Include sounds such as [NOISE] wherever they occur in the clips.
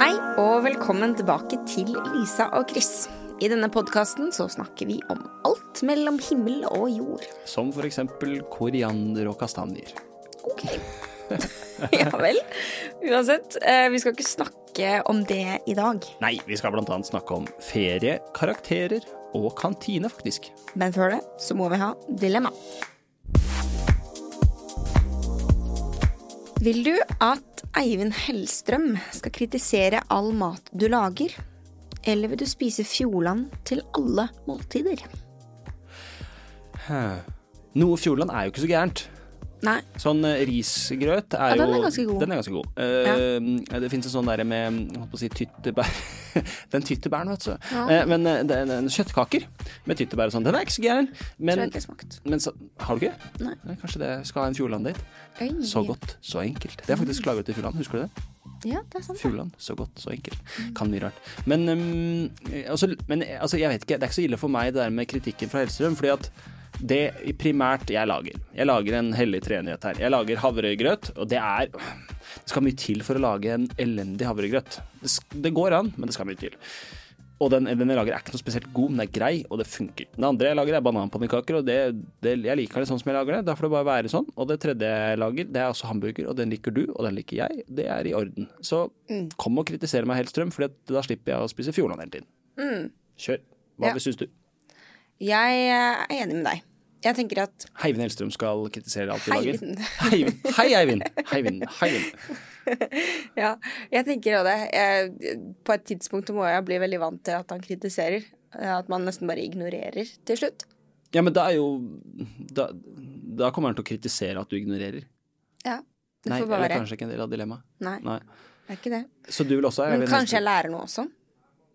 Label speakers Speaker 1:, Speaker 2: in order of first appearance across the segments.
Speaker 1: Hei og velkommen tilbake til Lisa og Chris. I denne podkasten så snakker vi om alt mellom himmel og jord.
Speaker 2: Som for eksempel koriander og kastanjer.
Speaker 1: Ok. [LAUGHS] ja vel. Uansett, eh, vi skal ikke snakke om det i dag.
Speaker 2: Nei, vi skal blant annet snakke om ferie, karakterer og kantine, faktisk.
Speaker 1: Men før det så må vi ha dilemma. Vil du at Eivind Hellstrøm skal kritisere all mat du lager? Eller vil du spise Fjordland til alle måltider?
Speaker 2: Noe Fjordland er jo ikke så gærent.
Speaker 1: Nei,
Speaker 2: Sånn eh, risgrøt er
Speaker 1: Ja,
Speaker 2: jo
Speaker 1: den er ganske god.
Speaker 2: Den er ganske god. Eh, Det fins en sånn derre med jeg holdt på å si tyttebær [LAUGHS] Den tyttebæren, vet du. Eh, Men eh, det er en kjøttkaker med tyttebær og sånn. Den er ikke så gæren.
Speaker 1: tror
Speaker 2: Men,
Speaker 1: jeg ikke jeg smakte.
Speaker 2: men så, har du ikke?
Speaker 1: Nei.
Speaker 2: Kanskje det skal ha en Fjordland-date.
Speaker 1: Oi.
Speaker 2: Så godt, så enkelt. Det er faktisk laget til Fjordland, husker du det?
Speaker 1: Sånn, Ja, det er sant. det.
Speaker 2: Fjordland, så godt, så enkelt. Kan mye rart. Men, um, altså, men altså, jeg vet ikke, det er ikke så ille for meg det der med kritikken fra Hellstrøm, fordi at det primært jeg lager Jeg lager en hellig treenighet her. Jeg lager havregrøt, og det er Det skal mye til for å lage en elendig havregrøt. Det, sk- det går an, men det skal mye til. Og den, den jeg lager er ikke noe spesielt god, men den er grei, og det funker. Den andre jeg lager er bananpannekaker, og det, det, jeg liker det sånn som jeg lager det. Da får det bare være sånn. Og det tredje jeg lager, det er også hamburger, og den liker du, og den liker jeg. Det er i orden. Så
Speaker 1: Mm.
Speaker 2: kom og kritiser meg, Hellstrøm, for da slipper jeg å spise Fjordland hele tiden. Kjør.
Speaker 1: Mm.
Speaker 2: Hva
Speaker 1: Ja.
Speaker 2: ja. syns du?
Speaker 1: Jeg eh, er enig med deg. Jeg tenker at
Speaker 2: Heivind Hellstrøm skal kritisere alt vi
Speaker 1: Heivind.
Speaker 2: lager. Heivind. Hei, Eivind. Heivind. Heivind.
Speaker 1: Ja, jeg tenker også det. Jeg, på et tidspunkt må jeg bli veldig vant til at han kritiserer. eh, At man nesten bare ignorerer til slutt.
Speaker 2: Ja, men da er jo da, da kommer han til å kritisere at du ignorerer.
Speaker 1: Ja, det
Speaker 2: Nei,
Speaker 1: får bare
Speaker 2: eller
Speaker 1: være.
Speaker 2: kanskje ikke en del av dilemmaet.
Speaker 1: Nei,
Speaker 2: Nei.
Speaker 1: det er ikke det.
Speaker 2: Så du vil også ha
Speaker 1: Men
Speaker 2: Eivind
Speaker 1: kanskje
Speaker 2: Hellstrøm?
Speaker 1: jeg lærer noe også.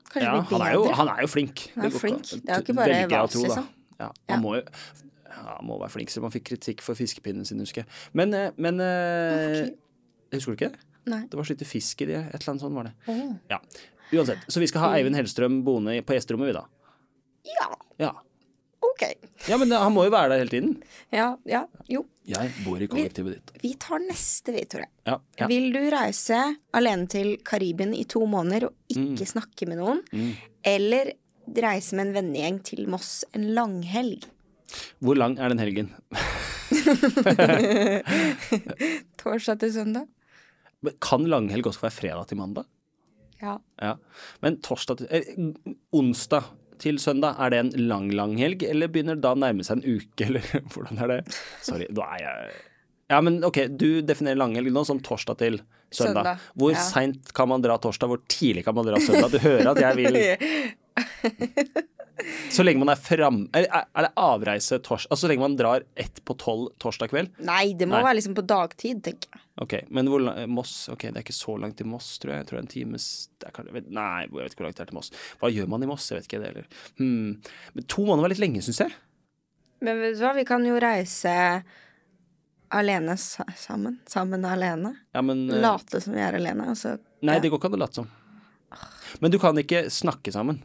Speaker 1: Kanskje
Speaker 2: Ja,
Speaker 1: blir bedre.
Speaker 2: han er jo, han er jo flink.
Speaker 1: Han er
Speaker 2: Det går
Speaker 1: flink.
Speaker 2: ikke an.
Speaker 1: Det er jo ikke bare
Speaker 2: Velger jeg å
Speaker 1: vas,
Speaker 2: tro, da.
Speaker 1: liksom.
Speaker 2: Ja,
Speaker 1: Ja.
Speaker 2: han må jo ja, han må være flink, selv om han fikk kritikk for fiskepinnen sin, husker jeg. Men, eh, men eh, Husker du ikke det?
Speaker 1: Nei.
Speaker 2: Det var så lite fisk i det, et eller annet sånt var det.
Speaker 1: Åh.
Speaker 2: Ja. Uansett, så vi skal ha
Speaker 1: Mm.
Speaker 2: Eivind Hellstrøm boende i- på gjesterommet, vi da.
Speaker 1: Ja,
Speaker 2: Ja.
Speaker 1: OK.
Speaker 2: ja, men eh, han må jo være der hele tiden.
Speaker 1: Ja, ja, jo.
Speaker 2: Jeg bor i kollektivet ditt.
Speaker 1: Vi tar neste, vi, Tore.
Speaker 2: Ja, ja.
Speaker 1: Vil du reise alene til Karibien i to måneder og
Speaker 2: Mm.
Speaker 1: ikke snakke med noen? Eller reise med en vennegjeng til Moss en langhelg?
Speaker 2: Hvor lang er den helgen?
Speaker 1: Torsdag til søndag?
Speaker 2: Men Kan langhelg også være fredag til mandag?
Speaker 1: Ja.
Speaker 2: Ja. Men torsdag til eh, Onsdag til søndag, er det en lang, lang helg, eller begynner det da å nærme seg en uke, [LAUGHS] eller hvordan er det? Sorry, nå er jeg Ja, men OK, du definerer langhelg nå som torsdag til søndag.
Speaker 1: Søndag,
Speaker 2: Hvor
Speaker 1: ja.
Speaker 2: seint kan man dra torsdag, hvor tidlig kan man dra søndag? Du hører at
Speaker 1: [LAUGHS]
Speaker 2: jeg vil Så lenge man er fram... Er, er det avreise torsdag Altså så lenge man drar ett på tolv torsdag kveld?
Speaker 1: Nei, det må
Speaker 2: Nei.
Speaker 1: være liksom på dagtid, tenker jeg.
Speaker 2: Ok, men hvor lang, Moss, ok, det er ikke så langt til Moss, tror jeg. Jeg tror det er en times det er, kanskje- vet- Nei, jeg vet ikke hvor langt det er til Moss. Hva gjør man i Moss? Jeg vet ikke det heller. Hmm. Men to måneder var litt lenge, syns jeg.
Speaker 1: Men vet du hva, vi kan jo reise alene sa- sammen. Sammen alene.
Speaker 2: Ja, men eh,
Speaker 1: Late som vi er alene. Altså,
Speaker 2: Nei, det går ikke an å late som. Men du kan ikke snakke sammen.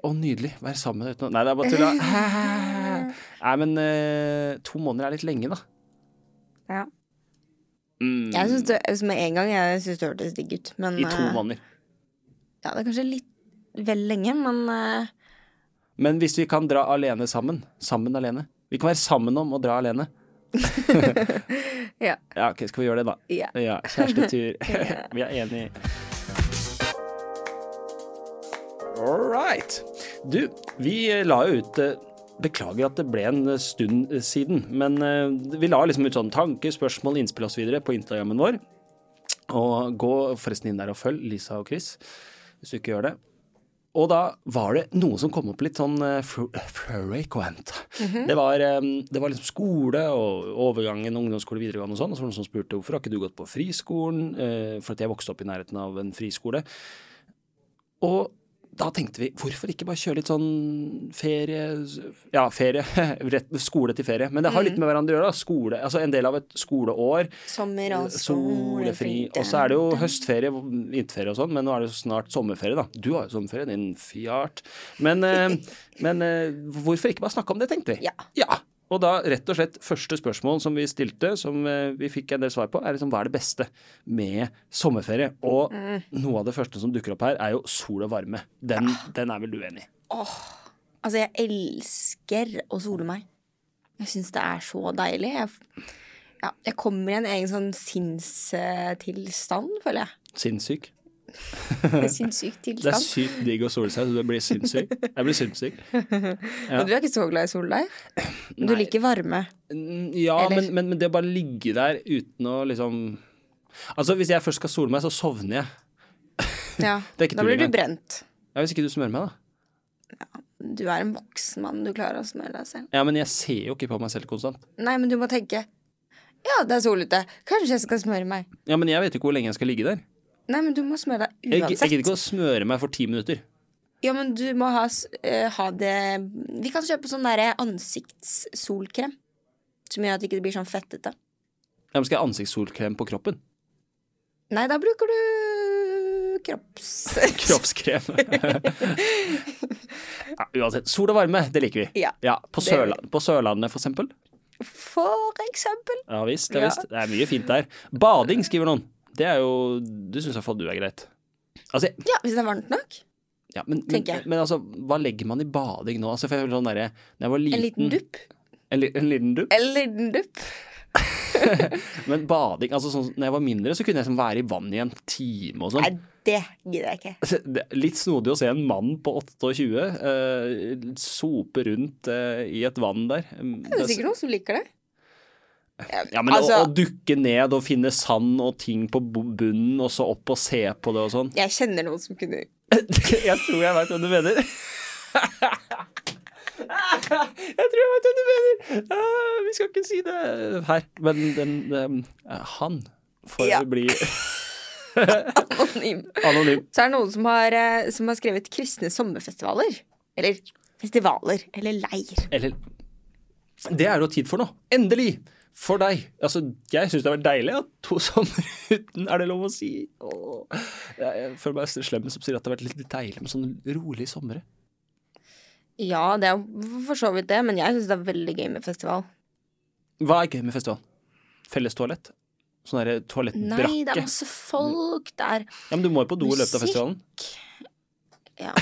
Speaker 2: Å, nydelig. Være sammen uten å Nei, det er bare tulla. Nei, men eh, to måneder er litt lenge, da.
Speaker 1: ja.
Speaker 2: Mm,
Speaker 1: Jeg syns det altså, med en gang jeg synes det hørtes digg ut, men
Speaker 2: I to
Speaker 1: eh,
Speaker 2: måneder.
Speaker 1: Ja, det er kanskje litt vel lenge, men eh,
Speaker 2: Men hvis vi kan dra alene sammen. Sammen alene. Vi kan være sammen om å dra alene.
Speaker 1: Ja.
Speaker 2: Ja, ok, skal vi gjøre det, da?
Speaker 1: Ja.
Speaker 2: kjærestetur. [LAUGHS] vi er enige. All right. Du, vi la jo ut eh, Beklager at det ble en eh, stund siden, men eh, vi la liksom ut sånn tanke, spørsmål, innspill osv. på Instagrammen vår. Og gå forresten inn der og følg Lisa og Chris, hvis du ikke gjør det. Og da var det noe som kom opp litt sånn eh, fr- frequent. det, var, eh, det var liksom skole og overgangen ungdomsskole, videregående og sånn. Og så var det noen som spurte hvorfor har ikke du gått på friskolen? Eh, For at jeg vokste opp i nærheten av en friskole. Og da tenkte vi hvorfor ikke bare kjøre litt sånn ferie Ja, ferie. [LAUGHS] Rett, skole til ferie. Men det har litt med hverandre å gjøre. da. Skole, altså en del av et skoleår.
Speaker 1: sommer altså. og
Speaker 2: Eh, Solefri. Og så er det jo høstferie, vinterferie og sånn, men nå er det jo snart sommerferie, da. Du har jo sommerferie, din fjart. Men, eh, men eh, hvorfor ikke bare snakke om det, tenkte vi.
Speaker 1: Ja.
Speaker 2: Og da rett og slett første spørsmål som vi stilte, som eh, vi fikk en del svar på, er liksom hva er det beste med sommerferie? Og noe av det første som dukker opp her, er jo sol og varme. Den, den er vel du enig i?
Speaker 1: Altså, jeg elsker å sole meg. Jeg syns det er så deilig. Jeg, f- ja, jeg kommer i en egen sånn sinnstilstand, føler
Speaker 2: [LAUGHS]
Speaker 1: jeg.
Speaker 2: Sinnssyk.
Speaker 1: En sinnssyk
Speaker 2: Det er
Speaker 1: tilstand.
Speaker 2: sykt digg å sole seg, så du blir sinnssyk. Jeg blir sinnssyk.
Speaker 1: Og du er ikke så glad i
Speaker 2: [CLEARS THROAT]
Speaker 1: sol, deg? Du liker varme.
Speaker 2: Mm, Ja,
Speaker 1: Eller-
Speaker 2: men, men, men det å bare ligge der uten å liksom Altså, hvis jeg først skal sole meg, så sovner jeg.
Speaker 1: Ja.
Speaker 2: [CLEARS THROAT] Det er ikke
Speaker 1: Da
Speaker 2: tull
Speaker 1: blir du
Speaker 2: engang.
Speaker 1: brent.
Speaker 2: Ja, Hvis ikke du smører meg, da.
Speaker 1: Du er en voksen mann, du klarer å smøre deg selv.
Speaker 2: Ja, men jeg ser jo ikke på meg selv konstant.
Speaker 1: Nei, men du må tenke Ja, det er sol ute. Kanskje jeg skal smøre meg.
Speaker 2: Ja, men jeg vet jo ikke hvor lenge jeg skal ligge der.
Speaker 1: Nei, men du må smøre deg
Speaker 2: Jeg, jeg
Speaker 1: uansett.
Speaker 2: gidder ikke å smøre meg for ti minutter.
Speaker 1: Ja, men du må ha, s- eh, ha det Vi kan kjøpe sånn derre ansiktssolkrem. Som gjør at det ikke blir sånn fettete.
Speaker 2: Ja, men skal jeg ha ansiktssolkrem på
Speaker 1: [LAUGHS]
Speaker 2: kroppen?
Speaker 1: Nei, da bruker du kropps...
Speaker 2: Kroppskrem. ja, uansett. Sol og varme, det liker vi.
Speaker 1: Ja,
Speaker 2: På,
Speaker 1: det gjør vi.
Speaker 2: Sørla på Sørlandet, for eksempel.
Speaker 1: For eksempel.
Speaker 2: Ja visst, ja
Speaker 1: Ja.
Speaker 2: visst. Det er mye fint der. Bading, skriver noen. Det er jo Du syns iallfall du er greit. Altså,
Speaker 1: Ja, hvis det er varmt nok.
Speaker 2: ja, men, men,
Speaker 1: Tenker jeg.
Speaker 2: men altså, hva legger man i bading nå? Altså, for jeg føler sånn derre Da jeg var liten
Speaker 1: En liten dupp.
Speaker 2: En, li- en liten dupp.
Speaker 1: En liten dupp.
Speaker 2: Men bading altså, sånn, Når jeg var mindre, så kunne jeg liksom være i vannet i en time og sånn. Altså,
Speaker 1: Nei, det gidder jeg ikke.
Speaker 2: Det er Litt snodig å se en mann på 28 eh, sope rundt eh, i et vann der.
Speaker 1: Det er sikkert noen som liker det.
Speaker 2: Ja, men å-
Speaker 1: altså-
Speaker 2: å, dukke ned og finne sand og ting på bo- bunnen, og så opp og se på det og sånn.
Speaker 1: Jeg kjenner noen som kunne
Speaker 2: [LAUGHS] Jeg tror jeg veit hvem du mener. [LAUGHS] Jeg tror jeg veit hvem du mener. Eh, vi skal ikke si det her, men den eh, Han får
Speaker 1: Ja.
Speaker 2: bli
Speaker 1: anonym.
Speaker 2: anonym.
Speaker 1: Så er det noen som har, eh, som har skrevet kristne sommerfestivaler. Eller festivaler. Eller leir.
Speaker 2: Eller Det er det jo tid for nå. Endelig! For deg. Altså, jeg syns det har vært deilig at to [LAUGHS] somre uten Er det lov å si? Åh. Jeg jeg føler meg slem som sier at det har vært litt deilig med sånne rolige somre.
Speaker 1: Ja, det er jo for så vidt det, men jeg syns det er veldig gøy med festival.
Speaker 2: Hva er gøy med festival? Fellestoalett? Sånn derre
Speaker 1: Nei, det er
Speaker 2: toalettbrakke?
Speaker 1: masse folk der.
Speaker 2: Ja, men du må jo på do i løpet av
Speaker 1: Musikk.
Speaker 2: festivalen.
Speaker 1: [LAUGHS] Ja,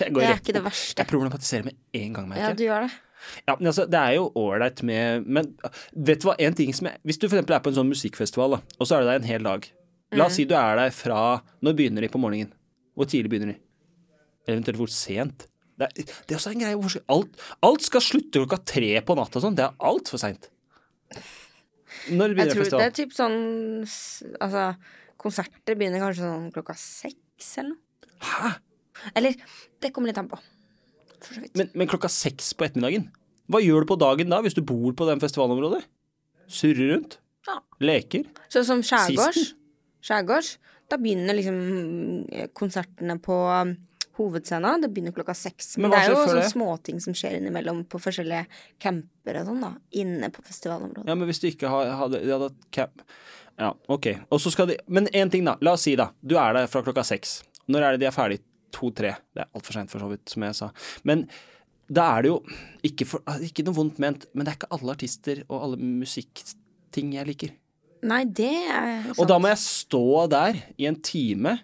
Speaker 2: Jeg
Speaker 1: det
Speaker 2: går
Speaker 1: er
Speaker 2: rett
Speaker 1: ikke det
Speaker 2: på.
Speaker 1: verste.
Speaker 2: Jeg problematiserer med en gang, merker
Speaker 1: Ja,
Speaker 2: jeg.
Speaker 1: du gjør det.
Speaker 2: Ja, men altså, det er jo ålreit med Men vet du hva, en ting som jeg Hvis du for eksempel er på en sånn musikkfestival, da, og så er du der en hel dag. La
Speaker 1: Mm.
Speaker 2: oss si du er der fra Når begynner de på morgenen? Hvor tidlig begynner de? Eventuelt hvor sent? Det er, det er også en greie hvor alt, alt skal slutte klokka tre på natta og sånn. Det er altfor seint. Når
Speaker 1: Jeg
Speaker 2: begynner
Speaker 1: tror det
Speaker 2: festivalen?
Speaker 1: er typ sånn s- Altså, konserter begynner kanskje sånn klokka seks eller noe.
Speaker 2: Hæ?
Speaker 1: Eller det kommer litt an på. For så vidt.
Speaker 2: Men, men klokka seks på ettermiddagen? Hva gjør du på dagen da, hvis du bor på den festivalområdet? Surrer rundt?
Speaker 1: Ja.
Speaker 2: Leker?
Speaker 1: Sånn som skjærgårds.
Speaker 2: Sisten?
Speaker 1: Skjærgårds. Da begynner liksom konsertene på um, hovedscenen. Det begynner klokka seks. Men,
Speaker 2: Men hva
Speaker 1: det er jo
Speaker 2: skjer før
Speaker 1: sånne
Speaker 2: det?
Speaker 1: småting som skjer innimellom på forskjellige camper og sånn, da. Inne på festivalområdet.
Speaker 2: Ja, men hvis du ikke har- hadde, de hadde hatt cap Ja, ok. Og så skal de Men én ting, da. La oss si, da. Du er der fra klokka seks. Når er det de er ferdig? To-tre. Det er altfor seint, for så vidt, som jeg sa. Men da er det jo ikke, for, ikke noe vondt ment, men det er ikke alle artister og alle musikkting jeg liker.
Speaker 1: Nei, det er sant.
Speaker 2: Og da må jeg stå der i en time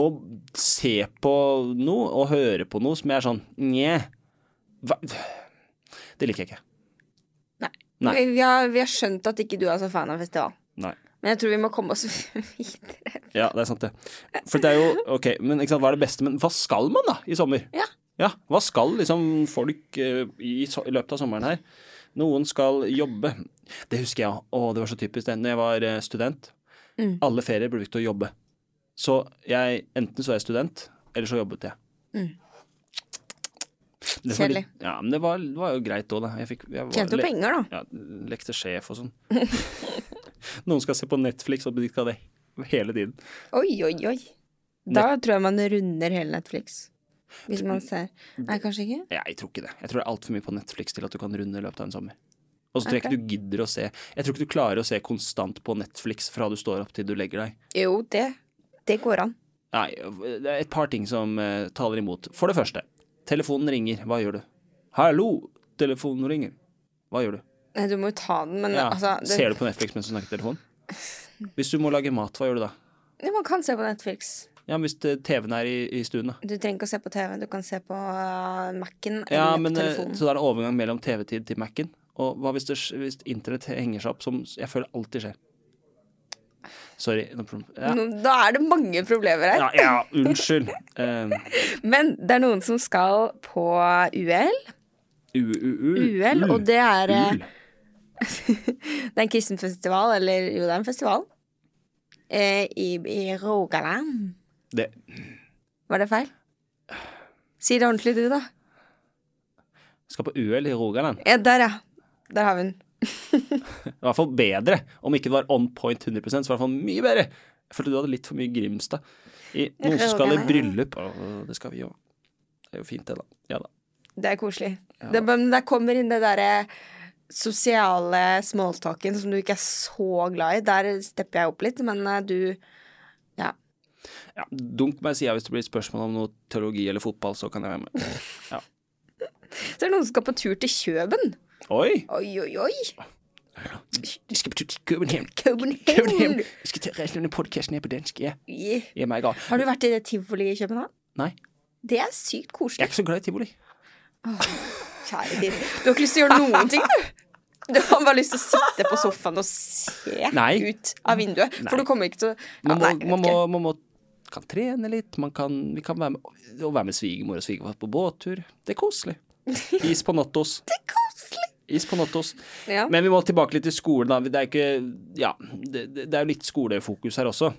Speaker 2: og se på noe og høre på noe som jeg er sånn Nje. Hva? Det liker jeg ikke.
Speaker 1: Nei.
Speaker 2: Nei.
Speaker 1: Vi, vi, har, vi har skjønt at ikke du er så fan av festival.
Speaker 2: Nei.
Speaker 1: Men jeg tror vi må komme oss [LAUGHS] videre.
Speaker 2: Ja, det er sant det. For det er jo, ok, men ikke sant, hva er det beste, men hva skal man da i sommer?
Speaker 1: Ja.
Speaker 2: Ja, hva skal liksom folk eh, i, so- i løpet av sommeren her? Noen skal jobbe. Det husker jeg, og det var så typisk det, når jeg var eh, student.
Speaker 1: Mm.
Speaker 2: Alle ferier ble brukt til å jobbe. Så jeg, enten så var jeg student, eller så jobbet jeg.
Speaker 1: Mm.
Speaker 2: Det var litt-
Speaker 1: Kjedelig.
Speaker 2: Ja, men det var, det var jo greit da, da. Jeg fikk, jeg var,
Speaker 1: Tjente jo
Speaker 2: le-
Speaker 1: penger, da.
Speaker 2: ja, lekte sjef
Speaker 1: [LAUGHS]
Speaker 2: og sånn. Noen skal se på Netflix, og de skal det hele tiden.
Speaker 1: Oi, oi, oi. Da tror jeg man runder hele Netflix. Hvis man ser Nei, kanskje ikke?
Speaker 2: Jeg tror ikke det. Jeg tror det er altfor mye på Netflix til at du kan runde i løpet av en sommer. Og så tror jeg
Speaker 1: Ok.
Speaker 2: ikke du gidder å se Jeg tror ikke du klarer å se konstant på Netflix fra du står opp til du legger deg.
Speaker 1: Jo, det, det går an.
Speaker 2: Nei, det er et par ting som eh, taler imot. For det første, telefonen ringer. Hva gjør du? Hallo, telefonen ringer. Hva gjør du?
Speaker 1: Nei, du må jo ta den, men
Speaker 2: Ja.
Speaker 1: altså det,
Speaker 2: Ser du på Netflix mens du snakker
Speaker 1: [LAUGHS]
Speaker 2: i telefonen? Hvis du må lage mat, hva gjør du da?
Speaker 1: Ja, Man kan se på Netflix.
Speaker 2: Ja, men Hvis eh, TV-en er i, i stuen, da?
Speaker 1: Du trenger ikke å se på TV, du kan se på uh, Mac-en eller
Speaker 2: Ja,
Speaker 1: på
Speaker 2: men, eh,
Speaker 1: telefonen.
Speaker 2: så da er det overgang mellom TV-tid til Mac-en. Og hva hvis, det, hvis internett henger seg opp, som jeg føler alltid skjer? Sorry. no problem. Ja,
Speaker 1: Nå- Da er det mange problemer her.
Speaker 2: ja, ja unnskyld. Eh,
Speaker 1: Men det er noen som skal på UL.
Speaker 2: u, u, u,
Speaker 1: UL,
Speaker 2: u-
Speaker 1: og det er eh,
Speaker 2: ul.
Speaker 1: Det er en kristen festival, eller jo, det er en festival. Eh, i, I Rogaland.
Speaker 2: det,
Speaker 1: Var det feil? Si det ordentlig, du, da.
Speaker 2: Skal på UL i Rogaland.
Speaker 1: Ja, der, ja. Der har vi den.
Speaker 2: I hvert fall bedre. Om ikke det var on point 100 så var det i hvert fall mye bedre. Jeg følte du hadde litt for mye Grimstad. I, noen som skal i
Speaker 1: Rogaland, ja.
Speaker 2: bryllup. Å, det skal vi jo. Det er jo fint, det, da. Ja da.
Speaker 1: Det er koselig. Det, men der kommer inn det derre sosiale smalltalken som du ikke er så glad i. Der stepper jeg opp litt, men eh, du Ja.
Speaker 2: Ja, dunk meg i sida hvis det blir spørsmål om noe teologi eller fotball, så kan jeg være med. Ja.
Speaker 1: Så er det noen som skal på tur til Kjøben.
Speaker 2: Oi!
Speaker 1: Oi, oi, oi.
Speaker 2: Vi skal på tur til København. København.
Speaker 1: København.
Speaker 2: Vi skal til resten av podkasten her på dansk. Ja,
Speaker 1: Yeah.
Speaker 2: ja meg gal.
Speaker 1: Har du vært i det tivoliet i København?
Speaker 2: Nei,
Speaker 1: Det er sykt
Speaker 2: jeg
Speaker 1: koselig.
Speaker 2: er ikke så glad i tivoli.
Speaker 1: Kjære tid. Du har ikke lyst til å gjøre noen ting, du. Du har bare lyst til å sitte på sofaen og se
Speaker 2: Nei.
Speaker 1: ut av vinduet. For du kommer ikke til å ja,
Speaker 2: Man må,
Speaker 1: Nei, jeg
Speaker 2: man
Speaker 1: vet
Speaker 2: må,
Speaker 1: ikke.
Speaker 2: man må kan trene litt, man kan, vi kan være med, og være med svigermor og svigerfar på båttur. Det er
Speaker 1: [LAUGHS]
Speaker 2: koselig. Is på nattos.
Speaker 1: Det er koselig.
Speaker 2: Is på nattos.
Speaker 1: Ja.
Speaker 2: Men vi må tilbake litt til skolen, da. Det er ikke Ja, det, det det er jo litt skolefokus her også.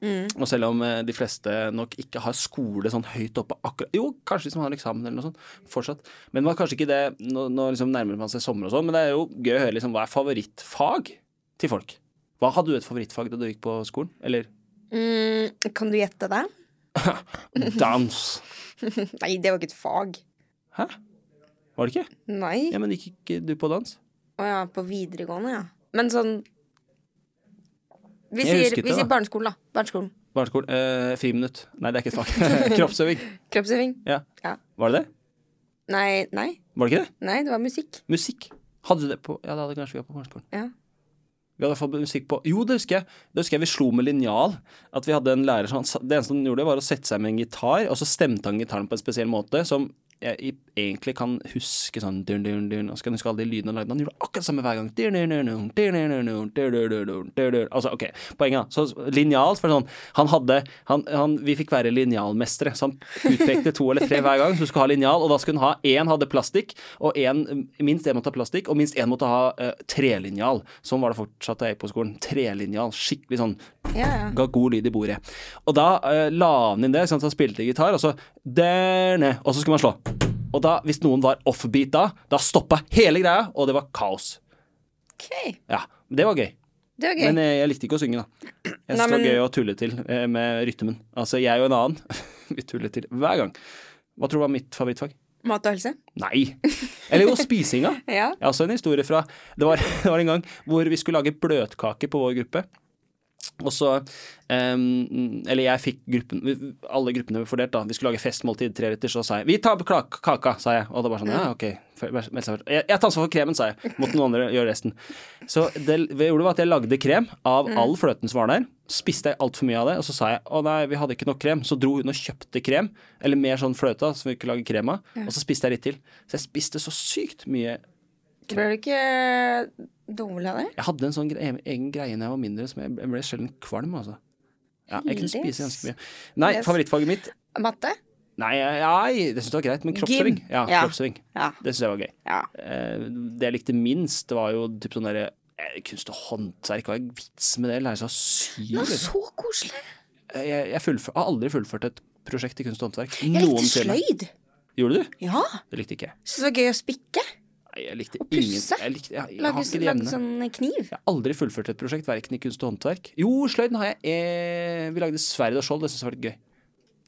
Speaker 2: Og selv om eh, de fleste nok ikke har skole sånn høyt oppe akkurat Jo, kanskje hvis man har en eksamen eller noe sånt, fortsatt. Men man har kanskje ikke det Nå, nå liksom nærmer man seg sommer og sånn, men det er jo gøy å høre liksom hva er favorittfag til folk. Hva hadde du et favorittfag da du gikk på skolen? Eller
Speaker 1: Mm, kan du gjette det?
Speaker 2: dans?
Speaker 1: Nei, det var ikke et fag.
Speaker 2: Hæ? Var det ikke?
Speaker 1: Nei.
Speaker 2: Ja, men gikk ikke du på dans?
Speaker 1: Å ja, på videregående, ja. Men sånn Vi
Speaker 2: Jeg
Speaker 1: sier,
Speaker 2: husket
Speaker 1: vi
Speaker 2: det,
Speaker 1: sier
Speaker 2: da.
Speaker 1: barneskolen, da. Barneskolen.
Speaker 2: Barneskolen? Eh, friminutt. Nei, det er ikke et fag. [LAUGHS] Kroppsøving.
Speaker 1: Kroppsøving.
Speaker 2: Ja.
Speaker 1: Ja.
Speaker 2: Var det det?
Speaker 1: Nei, nei.
Speaker 2: Var det ikke det?
Speaker 1: Nei, det var musikk.
Speaker 2: Musikk. Hadde du det på Ja, det hadde kanskje vi på barneskolen.
Speaker 1: Ja.
Speaker 2: Vi hadde i hvert fall musikk på Jo, det husker jeg. Det husker jeg vi slo med linjal. At vi hadde en lærer som Det eneste han gjorde, var å sette seg med en gitar, og så stemte han gitaren på en spesiell måte som jeg i- egentlig kan huske sånn dun, dun, dun, Og så kan jeg huske alle de lydene han lagde. Han gjorde akkurat det samme hver gang. Dun, dun, dun, dun, dun, dun, dun, dun, dun, dun, dun, dun, dun, dun. Altså, OK, poenget, da. Så linjal for sånn Han hadde han, han, Vi fikk være linjalmestere, så han utpekte to eller tre hver gang som skulle ha linjal, og da skulle hun ha én hadde plastikk, og en, minst én måtte ha plastikk, og minst én måtte ha eh, trelinjal. Sånn var det fortsatt da jeg gikk på skolen. Trelinjal. Skikkelig sånn
Speaker 1: ja, ja.
Speaker 2: Ga god lyd i bordet. Og da eh, la han inn det, ikke sant, så han spilte gitar, og så der ned, Og så skulle man slå. Og da, hvis noen var offbeat da, da stoppa hele greia, og det var kaos.
Speaker 1: OK.
Speaker 2: Ja, det var gøy.
Speaker 1: Det var gøy.
Speaker 2: Men eh, jeg likte ikke å synge, da.
Speaker 1: Nei,
Speaker 2: Jeg synes det var
Speaker 1: men-
Speaker 2: gøy å tulle til eh, med rytmen. Altså, jeg og en annen, [LAUGHS] vi tuller til hver gang. Hva tror du var mitt favorittfag?
Speaker 1: Mat og helse.
Speaker 2: Nei. Eller jo, spisinga.
Speaker 1: Ja.
Speaker 2: Jeg har også en historie fra det var, [LAUGHS] det var en gang hvor vi skulle lage bløtkake på vår gruppe. Og så em, Eller jeg fikk gruppen vi- Alle gruppene ble fordelt, da. Vi skulle lage festmåltid tre retter, så sa jeg 'Vi tar kla- kaka', sa jeg. Og det var sånn Ja, OK. Før- vær- meld seg først.» Jeg, jeg tar ansvar for kremen, sa jeg. Måtte noen andre gjøre resten. Så det vi gjorde, var at jeg lagde krem av all fløten som var der. Spiste jeg altfor mye av det, og så sa jeg 'Å nei, vi hadde ikke nok krem'. Så dro hun og kjøpte krem, eller mer sånn fløte, som vi kunne lage krem av. Og så spiste jeg litt til. Så jeg spiste så sykt mye
Speaker 1: Ble du ikke dårlig av det?
Speaker 2: Jeg hadde en sånn gre egen greie da jeg var mindre, som jeg ble- jeg ble sjelden kvalm, altså. Ja, jeg kunne
Speaker 1: Heldigvis.
Speaker 2: spise ganske mye. Nei,
Speaker 1: Yes.
Speaker 2: favorittfaget mitt
Speaker 1: Matte?
Speaker 2: Nei, nei det syns jeg var greit, men kroppsøving.
Speaker 1: Gym.
Speaker 2: Ja,
Speaker 1: Ja.
Speaker 2: kroppsøving.
Speaker 1: Ja.
Speaker 2: Det syns jeg var gøy.
Speaker 1: ja.
Speaker 2: Eh, Det jeg likte minst, det var jo typ sånn derre eh, kunst og håndverk. Hva er vits med det? Lære seg å sy.
Speaker 1: Det var
Speaker 2: liksom. Eh,
Speaker 1: så koselig.
Speaker 2: Jeg, jeg fullfør, har aldri fullført et prosjekt i kunst og håndverk.
Speaker 1: Jeg likte
Speaker 2: noensinne.
Speaker 1: sløyd.
Speaker 2: Gjorde du?
Speaker 1: Ja.
Speaker 2: Det likte ikke jeg.
Speaker 1: Syns det var gøy å spikke.
Speaker 2: Nei, jeg likte
Speaker 1: pusse.
Speaker 2: ingen jeg likte, jeg, jeg har
Speaker 1: Lage,
Speaker 2: ikke det
Speaker 1: lage
Speaker 2: emnet.
Speaker 1: sånn kniv.
Speaker 2: Jeg har aldri fullført et prosjekt, verken i kunst og håndverk. Jo, sløyden har jeg. Eh, vi lagde sverd og skjold, det syns jeg var litt gøy.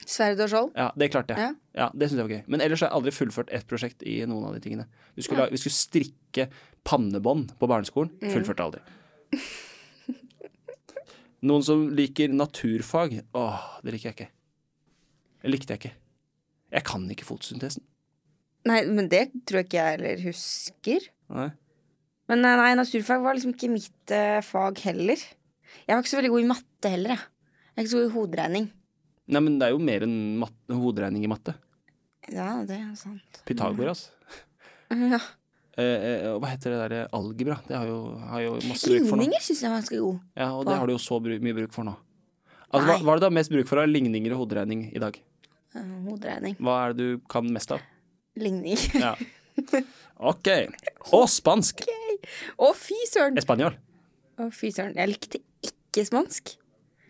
Speaker 1: Sverd og skjold.
Speaker 2: Ja, Det klarte jeg.
Speaker 1: Ja.
Speaker 2: Ja, det synes jeg var gøy. Men ellers har jeg aldri fullført et prosjekt i noen av de tingene. Vi skulle, la- vi skulle strikke pannebånd på barneskolen. Fullførte aldri. Noen som liker naturfag. Åh, det liker jeg ikke. Det likte jeg ikke. Jeg kan ikke fotosyntesen.
Speaker 1: Nei, men det tror jeg ikke jeg heller husker.
Speaker 2: Nei.
Speaker 1: Men eh, nei, naturfag var liksom ikke mitt eh, fag heller. Jeg var ikke så veldig god i matte heller, jeg. Jeg er ikke så god i hoderegning.
Speaker 2: Nei, men det er jo mer enn matte, hoderegning i matte.
Speaker 1: Ja, det er sant. [LAUGHS]
Speaker 2: Pythagoras.
Speaker 1: Ja.
Speaker 2: Eh, eh, og hva heter det derre algebra? Det har jo, har jo masse bruk for nå.
Speaker 1: Ligninger syns jeg var ganske god.
Speaker 2: Ja, og det har du jo så bru mye bruk for nå. Altså, hva,
Speaker 1: Nei.
Speaker 2: hva er det du har mest bruk for av ligninger og hoderegning i dag?
Speaker 1: Eh, Hoderegning.
Speaker 2: Hva er det du kan mest av?
Speaker 1: Ligning.
Speaker 2: Ja. OK. Og spansk.
Speaker 1: [LAUGHS] Å, fy søren!
Speaker 2: Espanjol.
Speaker 1: Å, fy søren. Jeg likte ikke spansk.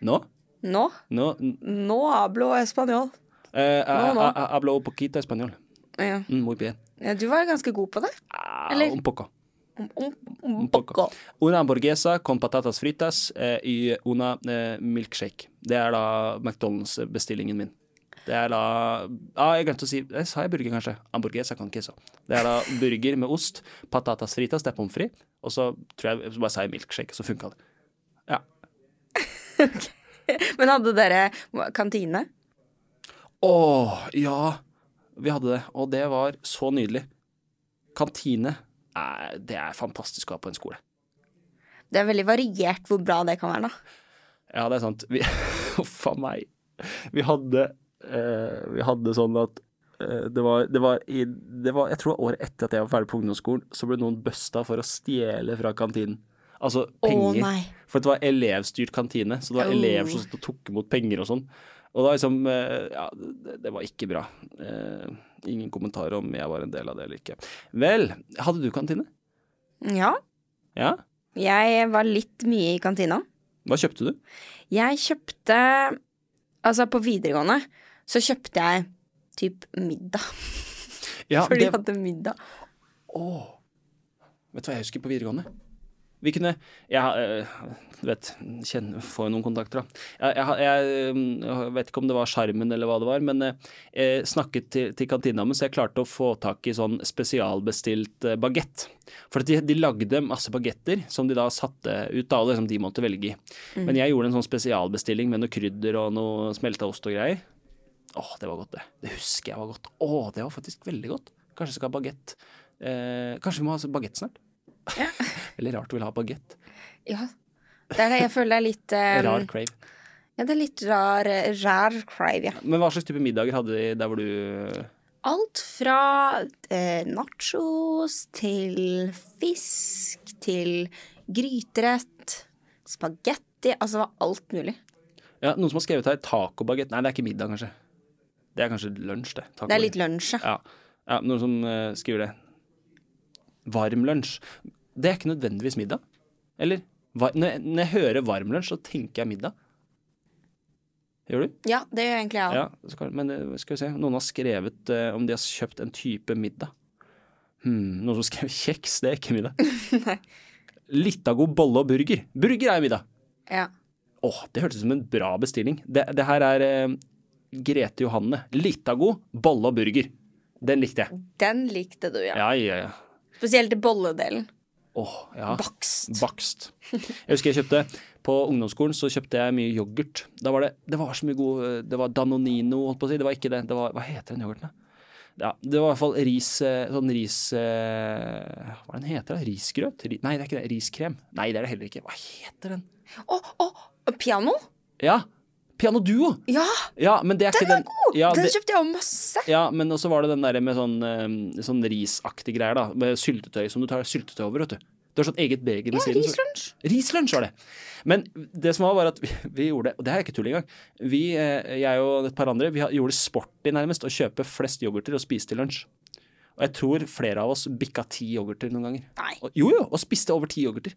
Speaker 2: No?
Speaker 1: Nå.
Speaker 2: No?
Speaker 1: Nå hablo español.
Speaker 2: Eh,
Speaker 1: No, no.
Speaker 2: a- a- Hablo un poquito español.
Speaker 1: Ja.
Speaker 2: Mm, Muy bien.
Speaker 1: Ja, Du var ganske god på det.
Speaker 2: Ah,
Speaker 1: Eller-
Speaker 2: Un poco.
Speaker 1: Om, om, om
Speaker 2: Un poco.
Speaker 1: poco.
Speaker 2: Una hamburguesa con patatas fritas eh, y una eh, milkshake. Det er da McDonald's-bestillingen min. Det er da ah, Jeg glemte å si eh, Sa jeg burger, kanskje? Hamburguesa con queso. Det er da burger med ost, patatas fritas, det er pommes frites, og så tror jeg så bare sa jeg milkshake, så funka det. Ja.
Speaker 1: Men hadde dere kantine?
Speaker 2: Å, ja. Vi hadde det, og det var så nydelig. Kantine. Eh, det er fantastisk å ha på en skole.
Speaker 1: Det er veldig variert hvor bra det kan være, da.
Speaker 2: Ja, det er sant. Vi, [LAUGHS] uff a meg. Vi hadde, eh, vi hadde sånn at eh, det var, det, var i, det var Jeg tror året etter at jeg var ferdig på ungdomsskolen, så ble noen busta for å stjele fra kantinen. Altså penger.
Speaker 1: nei.
Speaker 2: For det var elevstyrt kantine, så det var
Speaker 1: Oh.
Speaker 2: elever som satt og tok imot penger og sånn. Og da liksom eh, Ja, det, det var ikke bra. Eh, ingen kommentar om jeg var en del av det eller ikke. Vel, hadde du kantine?
Speaker 1: Ja.
Speaker 2: Ja?
Speaker 1: Jeg var litt mye i kantina.
Speaker 2: Hva kjøpte du?
Speaker 1: Jeg kjøpte Altså, på videregående så kjøpte jeg typ middag.
Speaker 2: Ja,
Speaker 1: For de
Speaker 2: det-
Speaker 1: hadde middag.
Speaker 2: Åh. Vet du hva jeg husker på videregående? Vi kunne Ja, øh, du vet kjenne, Få noen kontakter, da. Jeg, jeg, jeg, øh, vet ikke om det var sjarmen eller hva det var, men øh, jeg snakket til, til kantina mi, så jeg klarte å få tak i sånn spesialbestilt øh, bagett. For at de, de lagde masse bagetter som de da satte ut, da, og liksom de måtte velge i. Men jeg gjorde en sånn spesialbestilling med noe krydder og noe smelta ost og greier. Åh, det var godt, det. Det husker jeg var godt. Åh, det var faktisk veldig godt. Kanskje jeg skal ha bagett. Eh, kanskje vi må ha bagett snart? [LAUGHS] Veldig rart å ville ha bagett.
Speaker 1: Ja. Det er det jeg føler er litt eh,
Speaker 2: Rar crave.
Speaker 1: Ja, det er litt rar Rær crave, ja.
Speaker 2: Men hva slags type middager hadde de der hvor du
Speaker 1: Alt fra eh, nachos til fisk til gryterett, spagetti Altså det var alt mulig.
Speaker 2: Ja, Noen som har skrevet her tacobagett. Nei, det er ikke middag, kanskje. Det er kanskje lunsj, det.
Speaker 1: Det er litt lunsj, ja.
Speaker 2: Ja. ja noen som eh, skriver det. Varm lunsj. Det er ikke nødvendigvis middag. Eller? Var, når, jeg, når jeg hører varm lunsj, så tenker jeg middag. Gjør du?
Speaker 1: Ja, det gjør egentlig jeg òg.
Speaker 2: Ja, så kan, men eh, skal vi se. Noen har skrevet eh, om de har kjøpt en type middag. Hmm, noen som skrev kjeks, det er ikke middag. Litt av god bolle og burger. Burger er middag.
Speaker 1: Ja.
Speaker 2: Åh, det hørtes ut som en bra bestilling. Det, det her er eh, Grete Johanne. Litt av god bolle og burger. Den likte jeg.
Speaker 1: Den likte du, ja.
Speaker 2: Ja, ja, ja.
Speaker 1: Spesielt bolledelen.
Speaker 2: Åh, ja.
Speaker 1: Bakst.
Speaker 2: Bakst. Jeg husker jeg kjøpte På ungdomsskolen så kjøpte jeg mye yoghurt. Da var det, det var så mye god eh, Det var Danonino, holdt på å si. Det var ikke det. det var, hva heter den yoghurten, da? Ja, det var i hvert fall ris eh, Sånn ris eh, Hva er den heter den? Risgrøt? Ri- Nei, det er ikke det. Riskrem. Nei, det er det heller ikke. Hva heter den?
Speaker 1: Å, å! Piano?
Speaker 2: Ja! Piano Duo!
Speaker 1: Ja!
Speaker 2: Ja, men det er ikke
Speaker 1: Den
Speaker 2: den
Speaker 1: er god!
Speaker 2: Ja,
Speaker 1: den
Speaker 2: det,
Speaker 1: kjøpte jeg òg masse.
Speaker 2: ja, men også var det den der med sånn, eh, sånn risaktig greier, da. Med syltetøy som du tar syltetøy over, vet du. Du har sånn eget beger ved
Speaker 1: Ja,
Speaker 2: siden. så-
Speaker 1: Rislunsj.
Speaker 2: Rislunsj var det. Men det som var, var at vi, vi gjorde det, og det her er ikke tull engang. Vi, eh, jeg og et par andre, vi ha- gjorde sporty nærmest å kjøpe flest yoghurter og spise til lunsj. Og jeg tror flere av oss bikka ti yoghurter noen ganger.
Speaker 1: Nei,
Speaker 2: Og, jo, jo, og spiste over ti yoghurter.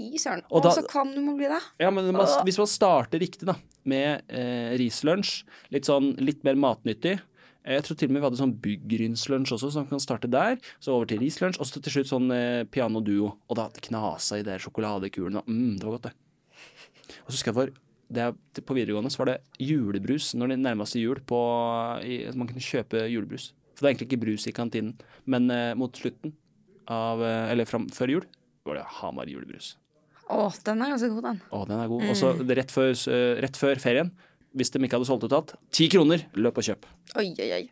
Speaker 1: fy søren.
Speaker 2: Og
Speaker 1: Og
Speaker 2: da-
Speaker 1: så kvalm du må bli, da.
Speaker 2: Ja, men man, hvis man starter riktig, da, med eh, rislunsj, litt sånn litt mer matnyttig eh, jeg tror til og med vi hadde sånn byggrynslunsj også, så man kan starte der. Så over til rislunsj, og så til slutt sånn eh, piano duo. Og da knasa i de sjokoladekulene. og Mm, det var godt, det. Og så husker jeg for det er, På videregående så var det julebrus når det nærma seg jul. På, i, man kunne kjøpe julebrus. For det er egentlig ikke brus i kantinen. Men eh, mot slutten av eh, Eller fram, før jul var det Hamar julebrus.
Speaker 1: Å, den er ganske god, den.
Speaker 2: Å, den er god. Og
Speaker 1: Mm.
Speaker 2: så det rett, før- eh, rett før ferien, hvis de ikke hadde solgt ut alt, ti kroner, løp og kjøp.
Speaker 1: Oi, oi, oi.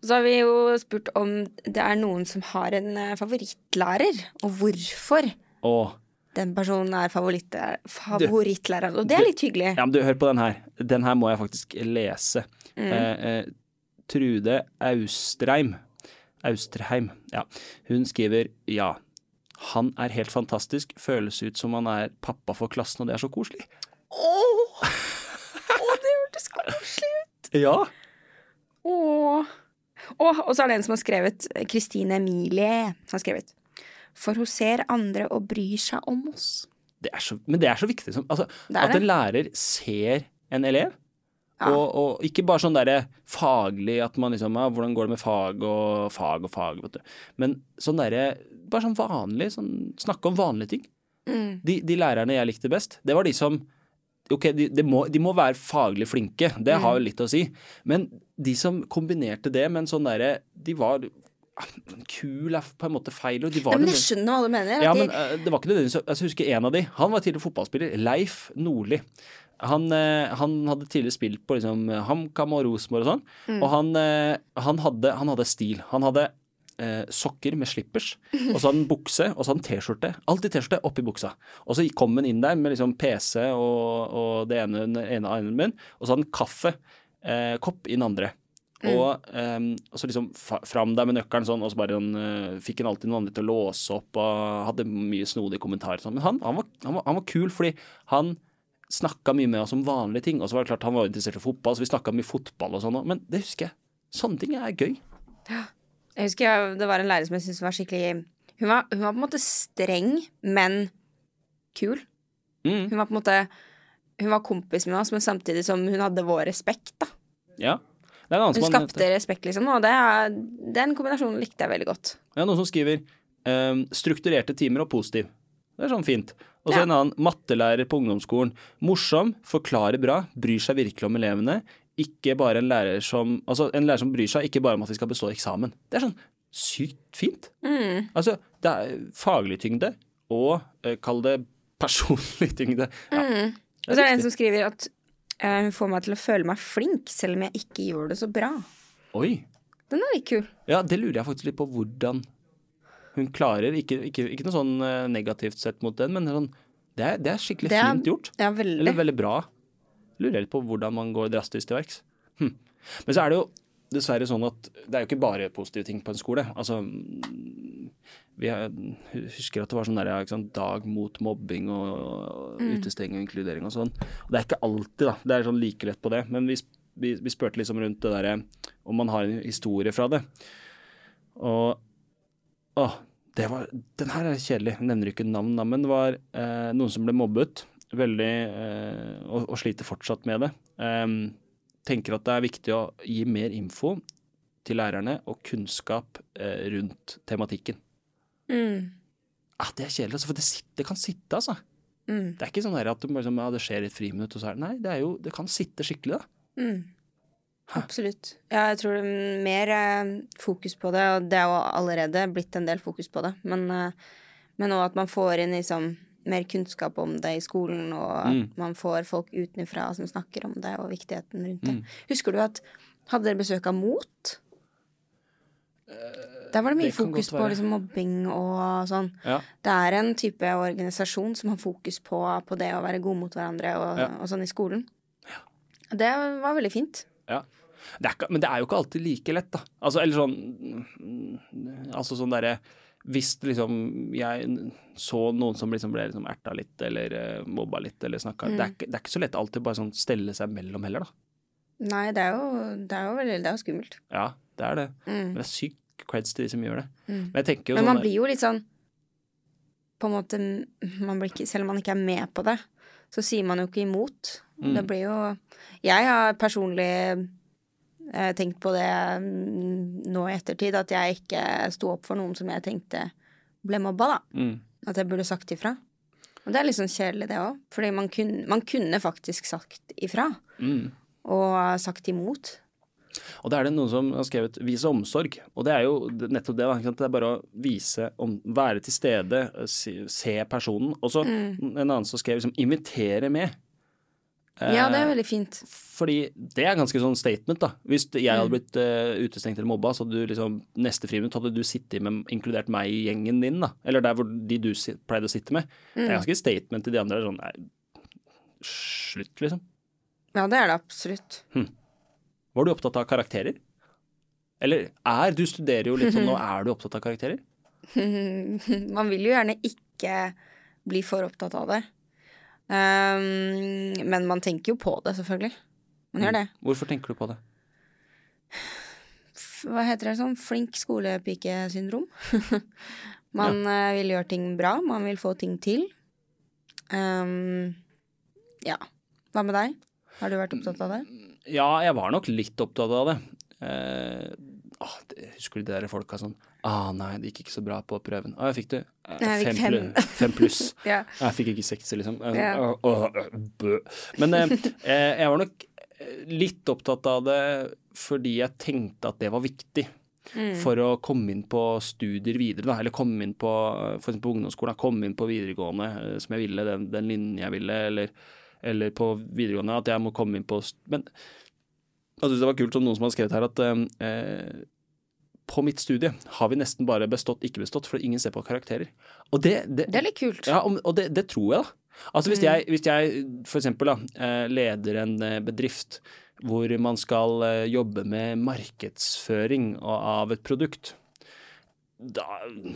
Speaker 1: Og så har vi jo spurt om det er noen som har en eh, favorittlærer, og hvorfor
Speaker 2: Og
Speaker 1: den personen er favoritt- favorittlæreren. Og det er litt hyggelig.
Speaker 2: Ja, men du, hør på den her. Den her må jeg faktisk lese.
Speaker 1: Mm.
Speaker 2: Eh, eh, Trude Austreim. Austrheim, ja. Hun skriver ja. Han er helt fantastisk. Føles ut som han er pappa for klassen, og det er så koselig.
Speaker 1: Åh, Åh, det hørtes koselig ut!
Speaker 2: Ja.
Speaker 1: Åh. Åh, og så er det en som har skrevet, Kristine Emilie, som har skrevet For hun ser andre og bryr seg om oss.
Speaker 2: Det er så, men det er så viktig som altså,
Speaker 1: Det er
Speaker 2: At
Speaker 1: det.
Speaker 2: en lærer ser en elev.
Speaker 1: Ja.
Speaker 2: Og, og ikke bare sånn derre faglig at man liksom ja, Hvordan går det med fag og fag og fag, vet du. Men sånn derre Bare sånn vanlig. Sånn, snakke om vanlige ting.
Speaker 1: Mm.
Speaker 2: De, de lærerne jeg likte best, det var de som Ok, de, de, må, de må være faglig flinke, det
Speaker 1: Mm.
Speaker 2: har jo litt å si. Men de som kombinerte det med en sånn derre De var ah, Kul er på en måte feil ord. De var
Speaker 1: Ja, men
Speaker 2: nødvendigvis-
Speaker 1: jeg skjønner hva du mener. at
Speaker 2: ja,
Speaker 1: de-
Speaker 2: men eh, det var ikke nødvendigvis altså, Jeg husker en av de. Han var tidligere fotballspiller. Leif Nordli. Han, eh, han hadde tidligere spilt på liksom, HamKam og Rosenborg og sånn.
Speaker 1: Mm.
Speaker 2: Og han, eh, han, hadde, han hadde stil. Han hadde eh, sokker med slippers, og så hadde han bukse, og så hadde han T-skjorte. Alltid T-skjorte oppi buksa. Og så kom han inn der med liksom PC og, og det ene den ene armen, og så hadde han kaffe. Eh, kopp i den andre. Og, ehm, og så liksom fa- fram der med nøkkelen sånn, og så bare han, eh, fikk han alltid noen andre til å låse opp og hadde mye snodige kommentarer. og Sånn. Men han, han, var, han, var, han var kul fordi han snakka mye med oss om vanlige ting. Og så var det klart han var interessert i fotball, så vi snakka mye fotball og sånn òg. Men det husker jeg. Sånne ting er gøy.
Speaker 1: Jeg husker jeg, det var en lærer som jeg syntes var skikkelig hun var, hun var på en måte streng, men kul.
Speaker 2: Mm.
Speaker 1: Hun var på en måte Hun var kompis med oss, men samtidig som hun hadde vår respekt. da
Speaker 2: Ja. Det er en annen
Speaker 1: Hun
Speaker 2: som han-
Speaker 1: skapte respekt, liksom, og det er, den kombinasjonen likte jeg veldig godt.
Speaker 2: Ja, noen som skriver ehm, strukturerte timer og positiv. Det er sånn fint. Og så
Speaker 1: Ja.
Speaker 2: en annen mattelærer på ungdomsskolen. Morsom, forklarer bra, bryr seg virkelig om elevene. Ikke bare en lærer som Altså, en lærer som bryr seg ikke bare om at vi skal bestå eksamen. Det er sånn sykt fint.
Speaker 1: Mm.
Speaker 2: Altså, det er faglig tyngde og eh, kall det personlig tyngde. Ja.
Speaker 1: Mm. Og så er det en som skriver at eh, hun får meg til å føle meg flink, selv om jeg ikke gjør det så bra.
Speaker 2: Oi.
Speaker 1: Den er litt kul.
Speaker 2: Ja, det lurer jeg faktisk litt på hvordan hun klarer. Ikke, ikke, ikke noe sånn eh, negativt sett mot den, men sånn, det, er, det er skikkelig
Speaker 1: Det er-
Speaker 2: fint gjort.
Speaker 1: Ja, veldig.
Speaker 2: Eller veldig bra. Lurer jeg litt på hvordan man går drastisk til verks. Hm. Men så er det jo dessverre sånn at det er jo ikke bare positive ting på en skole. Altså, mm, vi er, husker at det var sånn der, ja, ikke sant, dag mot mobbing og, og utestenging og inkludering og sånn. Og det er ikke alltid, da. Det er sånn like lett på det. Men vi, sp- vi, vi spurte liksom rundt det derre om man har en historie fra det. Og Åh, det var, den her er kjedelig. Jeg nevner ikke navn, da, men det var eh, noen som ble mobbet. Veldig eh, og, og sliter fortsatt med det. Em, tenker at det er viktig å gi mer info til lærerne og kunnskap eh, rundt tematikken.
Speaker 1: Mm.
Speaker 2: Ah, det er kjedelig, altså, for det, sitter, det kan sitte, altså.
Speaker 1: Mm.
Speaker 2: Det er ikke sånn der at du bare, liksom, ja, det skjer i et friminutt, og så er det Nei, det, er jo, det kan sitte skikkelig, da.
Speaker 1: Mm. Absolutt. Ja, jeg tror det er mer eh, fokus på det, og det er jo allerede blitt en del fokus på det. Men, eh, men også at man får inn liksom, mer kunnskap om det i skolen, og
Speaker 2: Mm.
Speaker 1: at man får folk utenfra som snakker om det, og viktigheten rundt
Speaker 2: Mm.
Speaker 1: det. Husker du at hadde dere besøk av MOT? Der var det mye
Speaker 2: Eh, det kan
Speaker 1: fokus
Speaker 2: godt
Speaker 1: på
Speaker 2: være.
Speaker 1: liksom, mobbing og sånn.
Speaker 2: Ja.
Speaker 1: Det er en type organisasjon som har fokus på, på det å være gode mot hverandre og,
Speaker 2: Ja.
Speaker 1: og sånn i skolen. Det var veldig fint.
Speaker 2: Ja. Det er, ikke- men det er jo ikke alltid like lett, da. Altså, eller sånn mm, Altså sånn derre Hvis liksom jeg så noen som liksom ble liksom erta litt, eller eh, mobba litt, eller snakka det,
Speaker 1: Mm.
Speaker 2: er ikke- det er ikke så lett alltid bare sånn stelle seg mellom heller, da.
Speaker 1: Nei, det er jo, det er jo veldig det er jo skummelt.
Speaker 2: Ja, det er det.
Speaker 1: Mm.
Speaker 2: Men det er sykt creds til de som gjør det.
Speaker 1: Mm.
Speaker 2: Men jeg tenker jo
Speaker 1: Men
Speaker 2: sånn
Speaker 1: man blir jo litt sånn På en måte man blir ikke, Selv om man ikke er med på det, så sier man jo ikke imot.
Speaker 2: Mm,
Speaker 1: Det blir jo Jeg har personlig eh, tenkt på det mm, nå i ettertid, at jeg ikke sto opp for noen som jeg tenkte ble mobba, da.
Speaker 2: mm,
Speaker 1: At jeg burde sagt ifra. Og det er litt sånn kjedelig, det òg. Fordi man kunne, man kunne faktisk sagt ifra.
Speaker 2: mm.
Speaker 1: Og sagt imot.
Speaker 2: Og da er det noen som har skrevet 'vise omsorg', og det er jo nettopp det. da, ikke sant? Det er bare å vise, om, være til eh,
Speaker 1: Mm.
Speaker 2: stede, se, se personen. Og så en annen som skrev liksom 'invitere med'.
Speaker 1: Ja, det er veldig fint.
Speaker 2: Fordi det er ganske sånn statement, da. Hvis jeg
Speaker 1: Mm.
Speaker 2: hadde blitt eh, utestengt eller mobba, så hadde du liksom neste friminutt hadde du sittet med inkludert meg i gjengen din, da. Eller der hvor de du si- pleide å sitte med.
Speaker 1: Mm.
Speaker 2: Det er ganske statement til de andre. det er Sånn nei, slutt, liksom.
Speaker 1: Ja, det er det absolutt. [LAUGHS]
Speaker 2: Var du opptatt av karakterer? Eller er Du studerer jo litt sånn [LAUGHS] nå, er du opptatt av karakterer?
Speaker 1: Man vil jo gjerne ikke bli for opptatt av det. Ehm, men man tenker jo på det, selvfølgelig. Man gjør det.
Speaker 2: Hvorfor tenker du på det?
Speaker 1: F- Hva heter det sånn? Flink skolepikesyndrom. man eh, vil gjøre ting bra, man vil få ting til. Ehm, ja. Hva med deg? Har du vært opptatt av det?
Speaker 2: Ja, jeg var nok litt opptatt av det. Eh, ah, det- husker du de der folka sånn Ah, nei, det gikk ikke så bra på prøven. Ah, jeg fikk det. Eh,
Speaker 1: Nei, jeg fikk
Speaker 2: fem, plu- fem
Speaker 1: [LAUGHS]
Speaker 2: pluss.
Speaker 1: Ja.
Speaker 2: Jeg fikk ikke seks, liksom. Eh,
Speaker 1: Ja.
Speaker 2: åh, åh, øh, bø.
Speaker 1: [LAUGHS]
Speaker 2: Men eh, eh, jeg var nok eh, litt opptatt av det fordi jeg tenkte at det var viktig.
Speaker 1: Mm.
Speaker 2: For å komme inn på studier videre, da, eller komme inn på eh, for eksempel på ungdomsskolen, komme inn på videregående eh, som jeg ville, den, den linjen jeg ville, eller, eller på videregående, at jeg må komme inn på st- Men jeg synes det var kult som noen som har skrevet her at eh, eh, på mitt studie har vi nesten bare bestått, ikke bestått, for ingen ser på karakterer. Og det, det,
Speaker 1: Det er litt kult.
Speaker 2: ja, om- og det, det tror jeg, da. Altså Hvis jeg, hvis jeg for eksempel da, eh, leder en eh, bedrift hvor man skal eh, jobbe med markedsføring a- av et produkt da,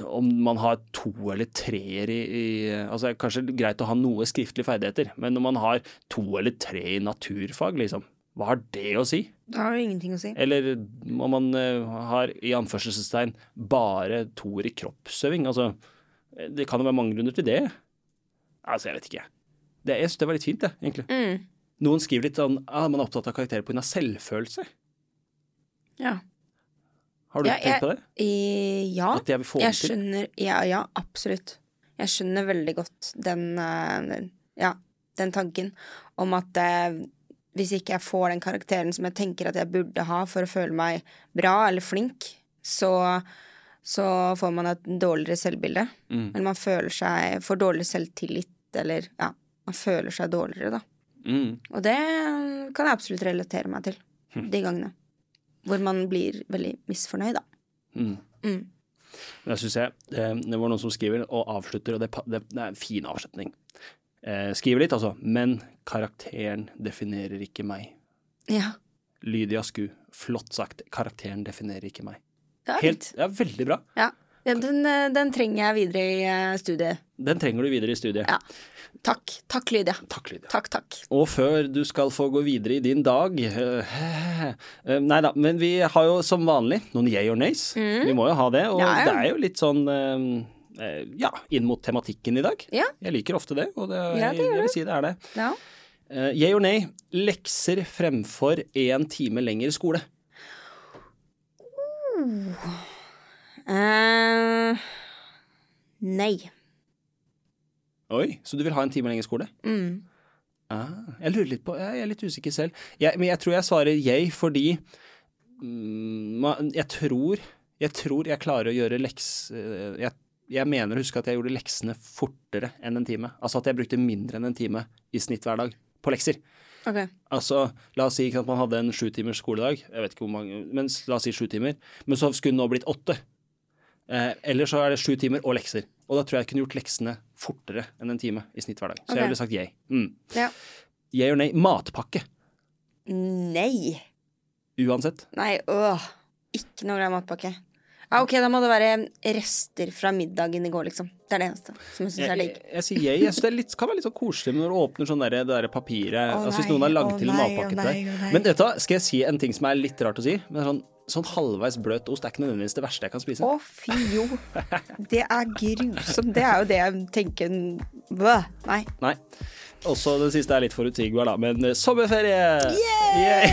Speaker 2: Om man har to eller treer i, i altså det er Kanskje greit å ha noe skriftlige ferdigheter, men når man har to eller tre i naturfag, liksom, hva har det å si?
Speaker 1: Da har du ingenting å si.
Speaker 2: Eller om man eh, har i anførselstegn bare toer i kroppsøving. Altså, eh, det kan jo være mange grunner til det. Altså, jeg vet ikke. Det, jeg syns det var litt fint, det, egentlig.
Speaker 1: Mm.
Speaker 2: Noen skriver litt sånn ah, man er opptatt av karakterer pga. selvfølelse.
Speaker 1: Ja.
Speaker 2: Har du
Speaker 1: Ja,
Speaker 2: tenkt på det?
Speaker 1: I, ja.
Speaker 2: At jeg vil få det
Speaker 1: Jeg
Speaker 2: til?
Speaker 1: skjønner Ja, ja, absolutt. Jeg skjønner veldig godt den eh, Ja, den tanken om at eh, hvis ikke jeg får den karakteren som jeg tenker at jeg burde ha for å føle meg bra eller flink, så, så får man et dårligere selvbilde.
Speaker 2: Mm.
Speaker 1: Eller man føler seg Får dårligere selvtillit eller Ja, man føler seg dårligere, da.
Speaker 2: Mm.
Speaker 1: Og det kan jeg absolutt relatere meg til. De gangene. Hvor man blir veldig misfornøyd, da.
Speaker 2: Mm.
Speaker 1: Mm.
Speaker 2: Det syns jeg. eh, Det var noen som skriver og avslutter, og det, pa- det, det er en fin avslutning. Eh, skriver litt, altså. Men karakteren definerer ikke meg.
Speaker 1: Ja.
Speaker 2: Lydia Sku. Flott sagt. Karakteren definerer ikke meg.
Speaker 1: Det er
Speaker 2: Helt, ja, veldig bra.
Speaker 1: Ja. Ja, den, eh, den trenger jeg videre i eh, studiet.
Speaker 2: Den trenger du videre i studiet.
Speaker 1: Ja. Takk. Takk, Lydia.
Speaker 2: Takk, Lydia.
Speaker 1: Takk, takk.
Speaker 2: Og før du skal få gå videre i din dag øh, øh, Nei da, men vi har jo som vanlig noen yay or nays. Vi må jo ha det. Og
Speaker 1: Mm. Ja, ja.
Speaker 2: det er jo litt sånn øh, øh, ja, inn mot tematikken i dag.
Speaker 1: Ja.
Speaker 2: Jeg liker ofte det, og det,
Speaker 1: Ja, det gjør du.
Speaker 2: jeg vil si det er det.
Speaker 1: Ja.
Speaker 2: Uh, yay or nay, lekser fremfor én time lenger skole.
Speaker 1: Eh, nei.
Speaker 2: Oi, så du vil ha en time lenger skole?
Speaker 1: Mm.
Speaker 2: Ah, jeg lurer litt på Jeg er litt usikker selv. Jeg, men jeg tror jeg svarer yay fordi mm, ma- jeg tror Jeg tror jeg klarer å gjøre leks... eh, Jeg, jeg mener å huske at jeg gjorde leksene fortere enn en time. Altså at jeg brukte mindre enn en time i snitt hver dag på lekser.
Speaker 1: Ok.
Speaker 2: Altså, la oss si ikke sant, man hadde en sju timers skoledag, jeg vet ikke hvor mange, men s- la oss si sju timer, men så skulle den nå blitt åtte. Eh, eller så er det sju timer og lekser. Og da tror jeg jeg kunne gjort leksene fortere enn en time i snitt hver dag. Så
Speaker 1: Ok.
Speaker 2: jeg ville sagt yay. Mm.
Speaker 1: Ja.
Speaker 2: Yay or nay. Matpakke.
Speaker 1: Nei.
Speaker 2: Uansett.
Speaker 1: Nei, åh. Ikke noe glad i matpakke. Ja, ok, da må det være rester fra middagen i går, liksom. Det er det eneste som jeg syns
Speaker 2: Jeg,
Speaker 1: er
Speaker 2: jeg,
Speaker 1: digg.
Speaker 2: jeg sier yay. Jeg synes det er litt, kan være litt sånn koselig når du åpner sånn derre- det derre papiret.
Speaker 1: Å
Speaker 2: altså Hvis
Speaker 1: nei,
Speaker 2: noen har
Speaker 1: å
Speaker 2: lagd til en
Speaker 1: nei, å
Speaker 2: matpakke til
Speaker 1: nei,
Speaker 2: deg.
Speaker 1: å nei.
Speaker 2: Men vet du hva, skal jeg si en ting som er litt rart å si? Men sånn, sånn halvveis bløt ost er ikke nødvendigvis det verste jeg kan spise.
Speaker 1: Å, fy jo. Det er grusomt. Det er jo det jeg tenker Bø. Nei.
Speaker 2: Nei. Også den siste er litt forutsigbar, da, men eh, sommerferie!
Speaker 1: Yay!
Speaker 2: Yay!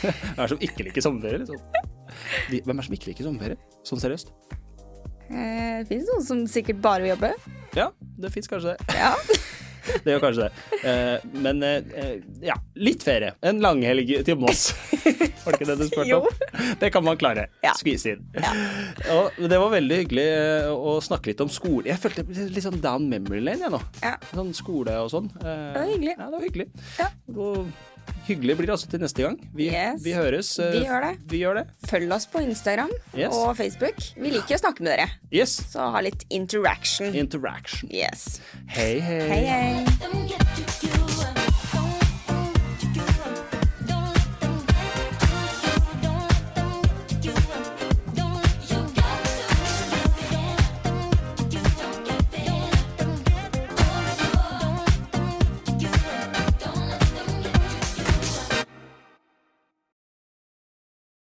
Speaker 2: [LAUGHS] Hvem er det som ikke liker sommerferie, liksom? De, hvem er det som ikke liker sommerferie? Sånn seriøst?
Speaker 1: Eh, det fins noen som sikkert bare vil jobbe.
Speaker 2: Ja, det [LAUGHS] fins kanskje det.
Speaker 1: Ja. [LAUGHS]
Speaker 2: det gjør kanskje det. Eh, men eh, ja, litt ferie. En langhelg til
Speaker 1: [LAUGHS]
Speaker 2: Moss. Var det ikke det du spurte
Speaker 1: Jo.
Speaker 2: om? Det kan man klare.
Speaker 1: Ja.
Speaker 2: Skvise inn. [LAUGHS] Og det var veldig hyggelig eh, å snakke litt om skole. Jeg følte jeg ble litt sånn down memory lane, jeg nå.
Speaker 1: Ja.
Speaker 2: Sånn skole og sånn. Eh,
Speaker 1: var hyggelig.
Speaker 2: Ja, det var hyggelig.
Speaker 1: Ja.
Speaker 2: Og hyggelig blir det altså til neste gang. Vi,
Speaker 1: Yes.
Speaker 2: vi høres. eh,
Speaker 1: Vi gjør det.
Speaker 2: Vi gjør det.
Speaker 1: Følg oss på Instagram
Speaker 2: Yes.
Speaker 1: og Facebook. Vi liker å snakke med dere,
Speaker 2: Yes.
Speaker 1: så ha litt interaction.
Speaker 2: Interaction.
Speaker 1: Yes.
Speaker 2: Hei, hei.
Speaker 1: Hei, hei.
Speaker 3: Them